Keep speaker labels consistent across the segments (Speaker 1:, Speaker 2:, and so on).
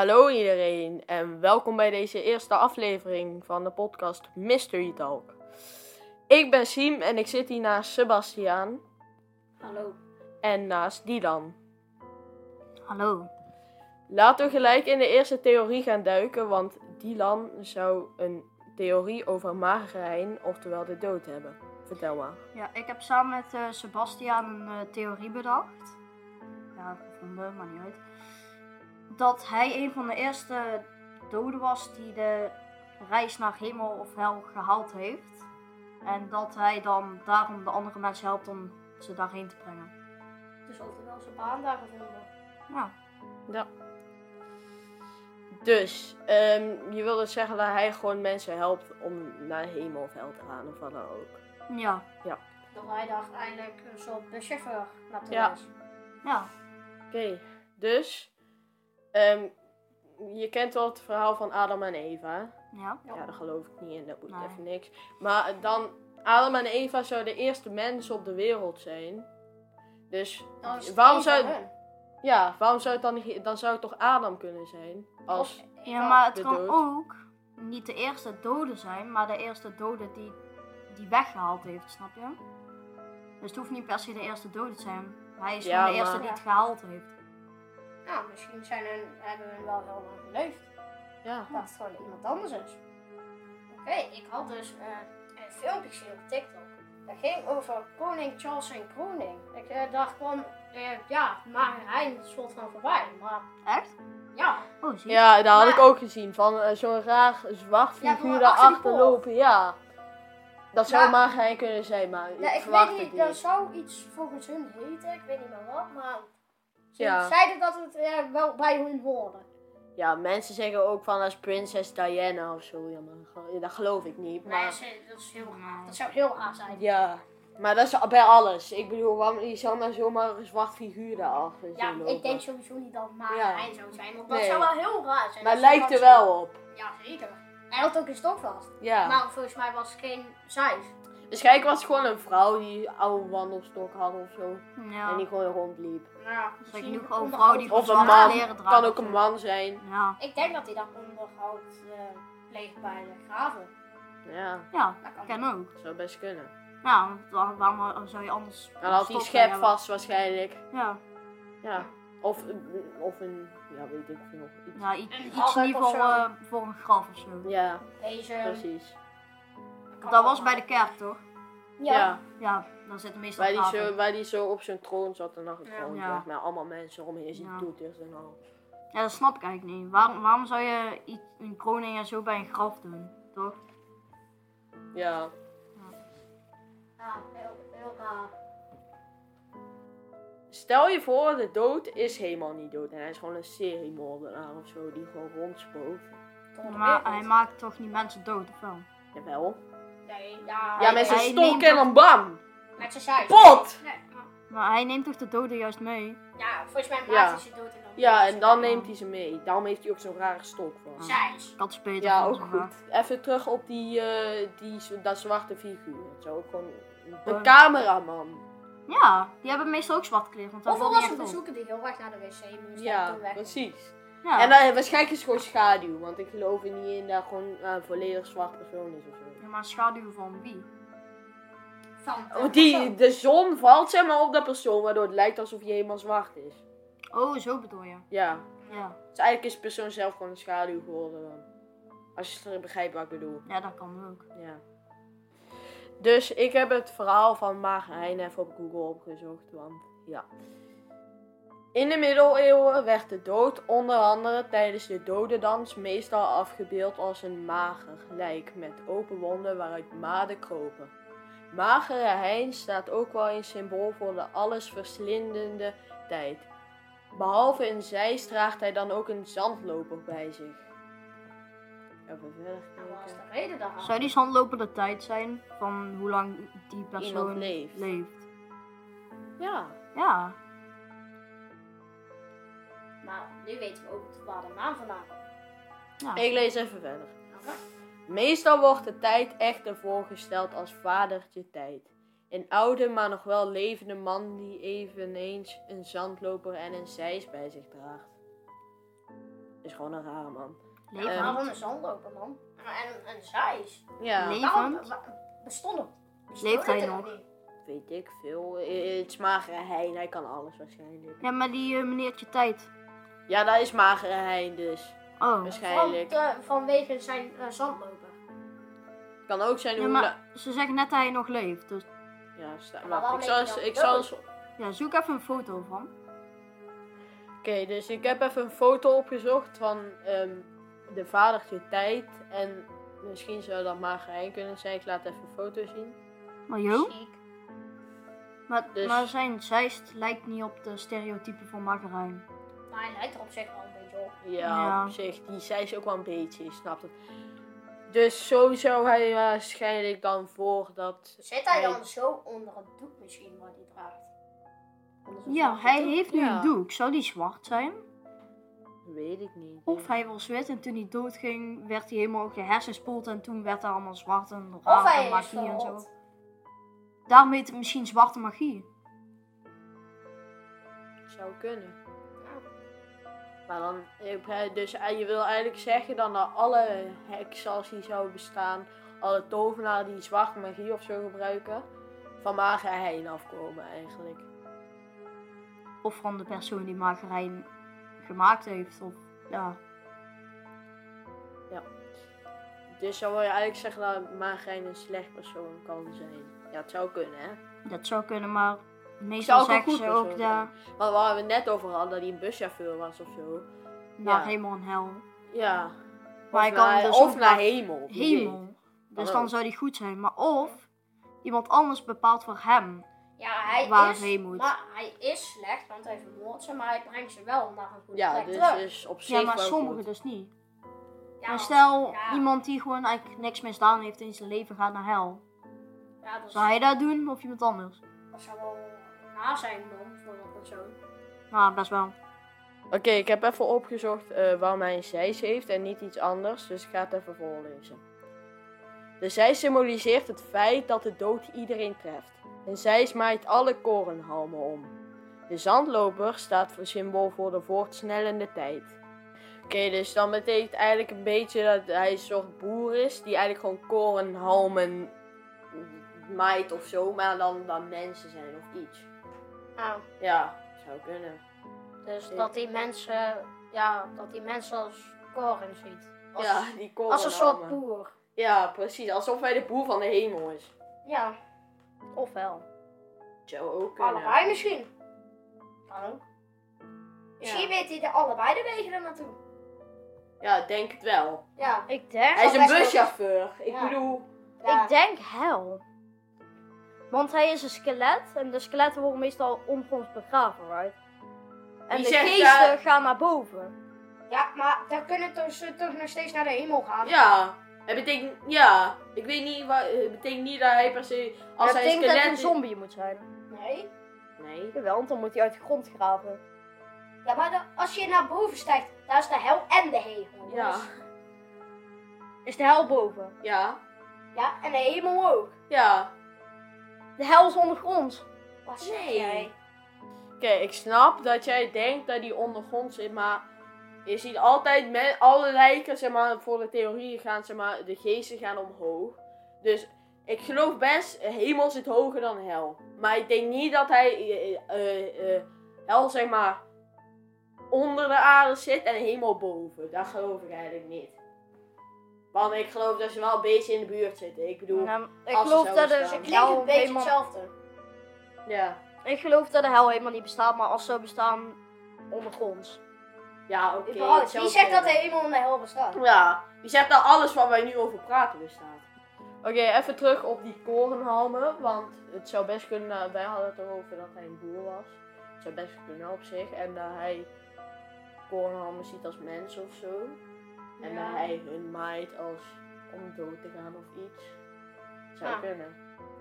Speaker 1: Hallo iedereen en welkom bij deze eerste aflevering van de podcast Mystery Talk. Ik ben Siem en ik zit hier naast Sebastiaan
Speaker 2: Hallo.
Speaker 1: en naast Dylan.
Speaker 2: Hallo.
Speaker 1: Laten we gelijk in de eerste theorie gaan duiken, want Dylan zou een theorie over magerijn, oftewel de dood hebben. Vertel maar.
Speaker 2: Ja, ik heb samen met eh, Sebastiaan een eh, theorie bedacht. Ja, gevonden, maar niet uit. Dat hij een van de eerste doden was die de reis naar hemel of hel gehaald heeft. En dat hij dan daarom de andere mensen helpt om ze daarheen te brengen.
Speaker 3: Dus altijd wel zijn baan daar gevonden.
Speaker 2: Ja,
Speaker 1: Ja. Dus, ehm, je wil dus zeggen dat hij gewoon mensen helpt om naar hemel of hel te gaan of wat dan ook.
Speaker 2: ja,
Speaker 3: Dat hij daar uiteindelijk eh, een soort buschauffeur naartoe
Speaker 1: Ja.
Speaker 3: is.
Speaker 2: ja.
Speaker 1: Oké, dus ehm, je kent wel het verhaal van Adam en Eva. hè?
Speaker 2: ja.
Speaker 3: Ja.
Speaker 1: Ja, daar geloof ik niet in, dat moet
Speaker 2: Nee.
Speaker 1: even niks. Maar dan, Adam en Eva zouden de eerste mensen op de wereld zijn. Dus
Speaker 3: Dan Oh, is het
Speaker 1: waarom
Speaker 3: één
Speaker 1: zou,
Speaker 3: van hun.
Speaker 1: ja, waarom zou het dan niet, dan zou het toch Adam kunnen zijn? Als,
Speaker 3: Of-
Speaker 2: Ja, maar het
Speaker 1: de
Speaker 2: kan
Speaker 1: dood.
Speaker 2: ook niet de eerste dode zijn, maar de eerste dode die, die weggehaald heeft, snap je? Dus het hoeft niet per se de eerste dode te zijn. Hij is
Speaker 1: Ja,
Speaker 2: gewoon de
Speaker 1: maar-
Speaker 2: eerste die het gehaald heeft.
Speaker 3: Nou, misschien zijn hun, hebben hun wel heel lang geleefd.
Speaker 1: ja.
Speaker 3: Dat het gewoon iemand anders is. Oké, ik had dus eh, een filmpje gezien op TikTok. Dat ging over koning Charles en Kroning. Ik eh, dacht van, eh, ja, maar hij soort van voorbij. Maar
Speaker 2: Echt?
Speaker 3: ja,
Speaker 2: Oh, zie je?
Speaker 1: Ja, dat had ik
Speaker 3: Maar-
Speaker 1: ook gezien. Van eh, zo'n raar zwart
Speaker 3: Ja,
Speaker 1: figuur
Speaker 3: van achter
Speaker 1: daarachter
Speaker 3: die
Speaker 1: lopen, ja. Dat zou
Speaker 3: Maar-
Speaker 1: maar geen kunnen zijn, maar
Speaker 3: Ja,
Speaker 1: ik
Speaker 3: Nou, ik
Speaker 1: verwacht
Speaker 3: weet
Speaker 1: het
Speaker 3: niet,
Speaker 1: niet.
Speaker 3: dat zou iets volgens hun heten, ik weet niet meer wat, maar ze
Speaker 1: Ja.
Speaker 3: zeiden dat het eh, wel bij hun hoorde.
Speaker 1: Ja, mensen zeggen ook van als prinses Diana of zo. Ja, maar ge- ja, dat geloof ik niet. Maar
Speaker 3: ze- dat, is heel,
Speaker 2: Nee.
Speaker 3: dat zou heel raar zijn. Ja,
Speaker 1: ja, maar dat is bij alles. Ik bedoel, waarom je zou maar zomaar een zwart figuur daarachter zien lopen.
Speaker 3: ik denk sowieso niet dat maar
Speaker 1: Ja.
Speaker 3: hij zou zijn, want dat
Speaker 1: Nee.
Speaker 3: zou wel heel raar zijn.
Speaker 1: Maar
Speaker 3: als hij
Speaker 1: lijkt er
Speaker 3: dat zou-
Speaker 1: wel op.
Speaker 3: Ja, zeker. Hij had ook een stok vast,
Speaker 1: Ja.
Speaker 3: maar volgens mij was het geen zeif.
Speaker 1: Waarschijnlijk was het gewoon een vrouw die een oude wandelstok had of zo. En die
Speaker 2: Ja.
Speaker 1: gewoon rondliep.
Speaker 3: Nou Ja,
Speaker 2: Dus ik
Speaker 3: misschien
Speaker 2: nu gewoon
Speaker 3: onderhoud.
Speaker 2: vrouw die
Speaker 1: Of een
Speaker 2: zwarte
Speaker 1: man.
Speaker 2: kleren draagt.
Speaker 1: Kan ook een man zijn.
Speaker 2: Ja.
Speaker 3: Ik denk dat hij dan onderhoud eh pleegt bij de graven.
Speaker 1: Ja,
Speaker 2: Ja,
Speaker 3: Dat kan.
Speaker 2: kan ook.
Speaker 1: dat zou best kunnen.
Speaker 2: Ja, want waar- waarom zou je anders...
Speaker 1: Dan had hij
Speaker 2: stoppen
Speaker 1: schep
Speaker 2: hebben?
Speaker 1: vast waarschijnlijk.
Speaker 2: Ja,
Speaker 1: Ja. Of, een- of een, ja weet ik veel. iets.
Speaker 2: ja i-
Speaker 3: Een
Speaker 2: iets
Speaker 3: half
Speaker 2: niet
Speaker 3: of
Speaker 2: voor,
Speaker 3: zo.
Speaker 2: eh, voor een graf of zo.
Speaker 1: Ja,
Speaker 3: Deze.
Speaker 1: precies.
Speaker 3: kan
Speaker 2: Dat was bij
Speaker 3: allemaal.
Speaker 2: de kerk, toch?
Speaker 3: Ja.
Speaker 1: ja.
Speaker 2: Ja, dan zitten meestal
Speaker 1: Waar die,
Speaker 2: graven.
Speaker 1: zo, waar die zo op zijn troon zat en nog een
Speaker 3: Ja.
Speaker 1: troon
Speaker 2: Ja.
Speaker 1: met allemaal mensen omheen ziet
Speaker 2: Ja.
Speaker 1: toeters en al.
Speaker 2: Ja, dat snap ik eigenlijk niet. Waarom, waarom zou je i- een kroning en zo bij een graf doen? Toch?
Speaker 1: Ja,
Speaker 3: Ja, heel, heel raar.
Speaker 1: stel je voor, de dood is helemaal niet dood en hij is gewoon een seriemoordenaar of zo die gewoon rondspookt.
Speaker 3: Tot de
Speaker 2: Maar hij
Speaker 3: wereld.
Speaker 2: maakt toch niet mensen dood, of wel?
Speaker 1: Jawel.
Speaker 3: Nee, ja.
Speaker 1: Ja, met
Speaker 2: hij
Speaker 1: zijn stok
Speaker 2: neemt
Speaker 1: en dan bam!
Speaker 3: Met zijn zij.
Speaker 1: Pot!
Speaker 3: Nee, maar-
Speaker 2: Maar hij neemt toch de doden juist mee?
Speaker 3: ja, volgens mij maakt
Speaker 1: Ja.
Speaker 3: hij ze dood en dan.
Speaker 1: Ja, en dan neemt hij ze mee. Daarom heeft hij ook zo'n rare stok vast.
Speaker 3: Zijs.
Speaker 2: Dat is beter.
Speaker 1: Ja, ook
Speaker 2: volgens mij.
Speaker 1: goed. Even terug op die, eh, die, z- dat zwarte figuur. Dat zou ook gewoon... De
Speaker 2: Ja.
Speaker 1: cameraman.
Speaker 2: Ja, die hebben meestal ook zwart kleren. Want dat
Speaker 3: Hoeveel
Speaker 2: valt
Speaker 3: was een
Speaker 2: niet echt op.
Speaker 3: bezoeker die heel erg naar de wc moest?
Speaker 1: Ja,
Speaker 3: toen weg.
Speaker 1: precies.
Speaker 2: Ja.
Speaker 1: En eh, dan, waarschijnlijk is het gewoon schaduw, want ik geloof er niet in dat gewoon eh, een volledig zwart persoon is of zo.
Speaker 2: Ja, maar een schaduw van wie?
Speaker 3: Van
Speaker 1: Oh, die, de zon valt zeg maar op dat persoon, waardoor het lijkt alsof hij helemaal zwart is.
Speaker 2: Oh, zo bedoel je.
Speaker 1: Ja.
Speaker 2: Ja,
Speaker 1: Dus eigenlijk is de persoon zelf gewoon een schaduw geworden dan. Als je het begrijpt wat ik bedoel.
Speaker 2: ja dat kan ook.
Speaker 1: Ja. Dus ik heb het verhaal van Magerijn even op Google opgezocht, want ja. In de middeleeuwen werd de dood onder andere tijdens de dodendans meestal afgebeeld als een mager lijk met open wonden waaruit maden kropen. Magere hein staat ook wel een symbool voor de allesverslindende tijd. Behalve een zeis draagt hij dan ook een zandloper bij zich. Even verder
Speaker 3: En Nou, wat was
Speaker 1: kijken.
Speaker 3: de reden daarvan?
Speaker 2: Zou die zandlopende tijd zijn van hoe lang die
Speaker 1: Iemand
Speaker 2: persoon
Speaker 1: leeft.
Speaker 2: leeft?
Speaker 1: Ja.
Speaker 2: Ja,
Speaker 3: Maar nu weten we ook waar de naam vandaan komt.
Speaker 2: ja.
Speaker 1: Ik lees even verder.
Speaker 2: Ehm.
Speaker 3: Oké.
Speaker 1: Meestal wordt de tijd echter voorgesteld als vadertje tijd. Een oude, maar nog wel levende man die eveneens een zandloper en een zeis bij zich draagt. is gewoon een rare man.
Speaker 2: Levend.
Speaker 1: Ehm,
Speaker 3: Waarom een zandloper, man? Nou, En en een zeis.
Speaker 1: Ja,
Speaker 2: Nee.
Speaker 3: Waarom
Speaker 2: Levend?
Speaker 3: nou, wa- bestond hem?
Speaker 2: Leeft hij
Speaker 3: het
Speaker 2: nog?
Speaker 3: niet?
Speaker 1: weet ik veel. I- Het is magere hein, hij kan alles waarschijnlijk.
Speaker 2: Ja, maar die eh, meneertje tijd.
Speaker 1: Ja, dat is magere hein dus.
Speaker 2: Oh.
Speaker 1: Waarschijnlijk.
Speaker 3: Van- eh, vanwege zijn eh, zandloper.
Speaker 1: Kan ook zijn
Speaker 2: Ja,
Speaker 1: hoe... la-
Speaker 2: maar ze zeggen net dat hij nog leeft. Dus
Speaker 1: Ja, sta,
Speaker 3: Maar
Speaker 1: wacht,
Speaker 3: waarom
Speaker 1: ik zal
Speaker 3: ben je
Speaker 1: eens...
Speaker 3: dan
Speaker 1: Ik zal
Speaker 3: dood?
Speaker 1: eens
Speaker 2: ja, zoek even een foto van.
Speaker 1: Oké, dus ik heb even een foto opgezocht van ehm, de vadertje tijd. En misschien zou dat magerijn kunnen zijn. Ik laat even een foto zien.
Speaker 2: Maar joh.
Speaker 3: Ziek.
Speaker 2: Maar,
Speaker 1: Dus-
Speaker 2: maar zijn zijst lijkt niet op de stereotypen van Magarijn.
Speaker 3: Maar hij lijkt er op zich wel een beetje op.
Speaker 1: Ja,
Speaker 2: Ja.
Speaker 1: op zich. Die zij is ook wel een beetje, je snapt het. Dus zo zou hij waarschijnlijk dan voor dat...
Speaker 3: Dus Zit hij
Speaker 1: Hij-
Speaker 3: dan zo onder het doek misschien wat hij draagt? Onder zo'n
Speaker 2: Ja, hij
Speaker 3: doek?
Speaker 2: heeft nu
Speaker 1: Ja.
Speaker 2: een doek. Zou die zwart zijn?
Speaker 1: Weet ik niet.
Speaker 2: Of hij was wit en toen hij doodging werd hij helemaal gehersenspoeld en toen werd hij allemaal zwart en
Speaker 3: Of
Speaker 2: raar en
Speaker 3: hij is
Speaker 2: magie Ah, en
Speaker 3: verrot.
Speaker 2: zo. Daarom heet het misschien zwarte magie.
Speaker 1: Zou kunnen. Maar dan... ik begrijp- Dus eh, je wil eigenlijk zeggen dan dat alle heksen als die zouden bestaan... Alle tovenaar die zwarte magie of zo gebruiken... Van magerijn afkomen eigenlijk.
Speaker 2: Of van de persoon die Magarijn gemaakt heeft. Of, ja.
Speaker 1: Dus dan wil je eigenlijk zeggen dat Magrijn een slecht persoon kan zijn. Ja, het zou kunnen, hè?
Speaker 2: Dat zou kunnen, maar meestal
Speaker 1: ook een
Speaker 2: zeggen
Speaker 1: goed
Speaker 2: ze ook
Speaker 1: persoon
Speaker 2: daar
Speaker 1: Maar waar we het net over hadden, dat hij een buschauffeur was of zo.
Speaker 2: naar
Speaker 1: Ja.
Speaker 2: hemel en hel.
Speaker 1: Ja.
Speaker 2: Maar
Speaker 1: of
Speaker 2: hij kan
Speaker 1: naar,
Speaker 2: dus
Speaker 1: of
Speaker 2: ook
Speaker 1: naar
Speaker 2: naar
Speaker 1: hemel. wie weet.
Speaker 2: Hemel. Dus
Speaker 1: Hallo.
Speaker 2: dan zou die goed zijn. Maar of iemand anders bepaalt voor hem.
Speaker 3: Ja, hij
Speaker 2: Waar
Speaker 3: is,
Speaker 2: hij moet.
Speaker 3: Maar hij is slecht, want hij vermoordt ze, maar hij brengt ze wel naar een goede
Speaker 1: Ja,
Speaker 3: plek
Speaker 1: dus,
Speaker 3: terug.
Speaker 1: dus op zich
Speaker 2: Ja, maar
Speaker 1: wel
Speaker 2: sommigen
Speaker 1: goed.
Speaker 2: dus niet.
Speaker 3: ja,
Speaker 2: eh, maar
Speaker 3: want-
Speaker 2: stel,
Speaker 3: ja,
Speaker 2: iemand die gewoon eigenlijk niks misdaan heeft in zijn leven gaat naar hel.
Speaker 3: Ja, dat,
Speaker 2: Zou hij dat doen of iemand anders?
Speaker 3: dat zou wel na zijn man voor dat persoon.
Speaker 2: Nou, best wel.
Speaker 1: Oké, ik heb even opgezocht eh, waarom hij een zeis heeft en niet iets anders. Dus ik ga het even voorlezen. De zeis symboliseert het feit dat de dood iedereen treft. Een zeis maait alle korenhalmen om. De zandloper staat voor symbool voor de voortsnellende tijd. Oké, dus dan betekent eigenlijk een beetje dat hij een soort boer is die eigenlijk gewoon korenhalmen maait of zo, maar dan, dan mensen zijn of iets. Oh.
Speaker 3: Nou,
Speaker 1: Ja, zou kunnen.
Speaker 3: dus
Speaker 1: Ik-
Speaker 3: dat die mensen, ja, dat die mensen als koren ziet. Als,
Speaker 1: ja, die korenhalmen.
Speaker 3: als een soort boer.
Speaker 1: Ja, precies. Alsof hij de boer van de hemel is.
Speaker 3: Ja. Ofwel.
Speaker 1: Dat zou ook kunnen.
Speaker 3: Allebei misschien. Kan ook. Misschien
Speaker 1: Ja.
Speaker 3: weet hij de allebei de wegen er naartoe.
Speaker 1: ja, ik denk het wel.
Speaker 3: Ja.
Speaker 2: Ik denk,
Speaker 1: Hij is een
Speaker 3: best wel-
Speaker 1: buschauffeur. Ik
Speaker 3: Ja.
Speaker 1: bedoel...
Speaker 3: ja.
Speaker 2: denk hel. Want hij is een skelet en de skeletten worden meestal ongrond begraven, right?
Speaker 1: En Wie de zegt geesten dat?
Speaker 2: gaan naar boven.
Speaker 3: Ja, maar dan kunnen toch- ze toch nog steeds naar de hemel gaan.
Speaker 1: Ja. Het betekent... Ja. Ik weet niet wat... Het betekent niet dat hij per se... Als hij een skelet is-
Speaker 2: moet zijn.
Speaker 3: Nee.
Speaker 1: Nee.
Speaker 2: Jawel, want dan moet hij uit de grond graven.
Speaker 3: Ja, maar dan- als je naar boven stijgt, daar is de hel en de hemel.
Speaker 1: Ja.
Speaker 3: Dus-
Speaker 2: Is de hel boven?
Speaker 1: Ja.
Speaker 3: ja, en de hemel ook.
Speaker 1: Ja.
Speaker 2: De hel is ondergronds.
Speaker 3: Wat zeg
Speaker 1: Nee.
Speaker 3: jij?
Speaker 1: Oké, ik snap dat jij denkt dat die ondergrond zit, maar je ziet altijd met alle lijken, zeg maar, voor de theorieën gaan, zeg maar, de geesten gaan omhoog. Dus ik geloof best, hemel zit hoger dan hel. Maar ik denk niet dat hij, eh, eh, eh, hel, zeg maar, onder de aarde zit en hemel boven. Dat geloof ik eigenlijk niet. Want ik geloof dat ze wel een beetje in de buurt zitten. Ik bedoel, ja.
Speaker 2: Nou, ik,
Speaker 1: Als ze
Speaker 2: geloof
Speaker 1: zo
Speaker 2: dat de,
Speaker 1: bestaan.
Speaker 3: Klinkt
Speaker 2: hel
Speaker 3: een beetje
Speaker 2: helemaal-
Speaker 3: hetzelfde.
Speaker 1: Ja,
Speaker 2: ik geloof dat de hel helemaal niet bestaat, maar als ze bestaan, ondergronds.
Speaker 1: oké.
Speaker 3: Überhaupt,
Speaker 1: het zou
Speaker 3: Wie zegt dat
Speaker 1: kunnen.
Speaker 3: de hemel en de hel bestaan?
Speaker 1: Ja, die zegt dat alles waar wij nu over praten bestaat. Oké, even terug op die korenhalmen, want het zou best kunnen, nou, wij hadden het erover dat hij een boer was. Het zou best kunnen op zich en dat hij korenhalmen ziet als mens of zo. En
Speaker 3: Ja.
Speaker 1: dat hij hun maait als om dood te gaan of iets. Zou
Speaker 3: Ah.
Speaker 1: kunnen.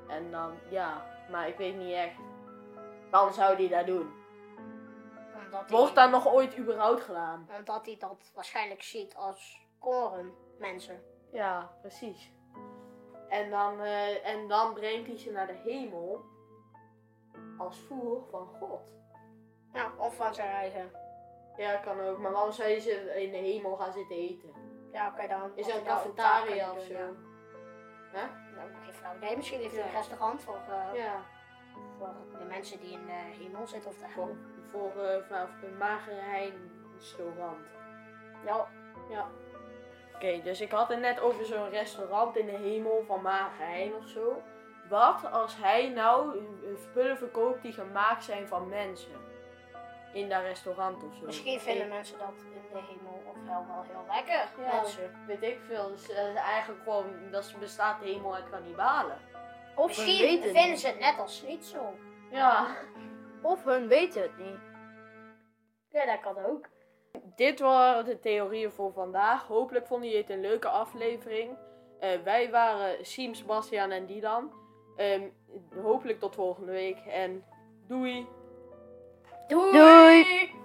Speaker 1: En dan, ja, maar ik weet niet echt. Dan zou hij dat doen.
Speaker 3: Omdat hij-
Speaker 1: Wordt dat nog ooit überhaupt gedaan?
Speaker 3: Omdat hij dat waarschijnlijk ziet als koren mensen.
Speaker 1: Ja, precies. En dan, eh, en dan brengt hij ze naar de hemel als voer van God.
Speaker 3: Nou, Ja, of van zijn eigen.
Speaker 1: Ja, kan ook. Maar waarom zou je ze in de hemel gaan zitten eten?
Speaker 3: Ja, oké dan.
Speaker 1: Is er
Speaker 3: had
Speaker 1: een
Speaker 3: je nou
Speaker 1: cafetaria
Speaker 3: taak
Speaker 1: of
Speaker 3: kunnen
Speaker 1: zo?
Speaker 3: doen, ja. Nou, maar geen flauw idee. Misschien heeft hij een
Speaker 1: Ja.
Speaker 3: restaurant voor, eh,
Speaker 1: Ja,
Speaker 3: voor de mensen die in de hemel zitten of de hel.
Speaker 1: voor, voor eh, vanaf een magere hein restaurant.
Speaker 3: Ja,
Speaker 1: Oké, dus ik had het net over zo'n restaurant in de hemel van Magerijn of zo. Wat als hij nou eh, spullen verkoopt die gemaakt zijn van mensen? In dat restaurant of zo.
Speaker 3: misschien vinden mensen dat in de hemel of hel wel heel lekker.
Speaker 1: Ja.
Speaker 3: Mensen.
Speaker 1: Weet ik veel. Dus, eh, eigenlijk gewoon, dat bestaat de hemel uit kannibalen.
Speaker 2: Of
Speaker 3: Misschien
Speaker 2: hun weten
Speaker 3: vinden
Speaker 2: het
Speaker 3: ze het net als niet zo.
Speaker 1: Ja.
Speaker 2: niet. Of hun weten het niet.
Speaker 3: Ja, dat kan ook.
Speaker 1: Dit waren de theorieën voor vandaag. Hopelijk vonden jullie het een leuke aflevering. Eh, wij waren Siem, Bastiaan en Dylan. Ehm, hopelijk tot volgende week en doei!
Speaker 2: Doei!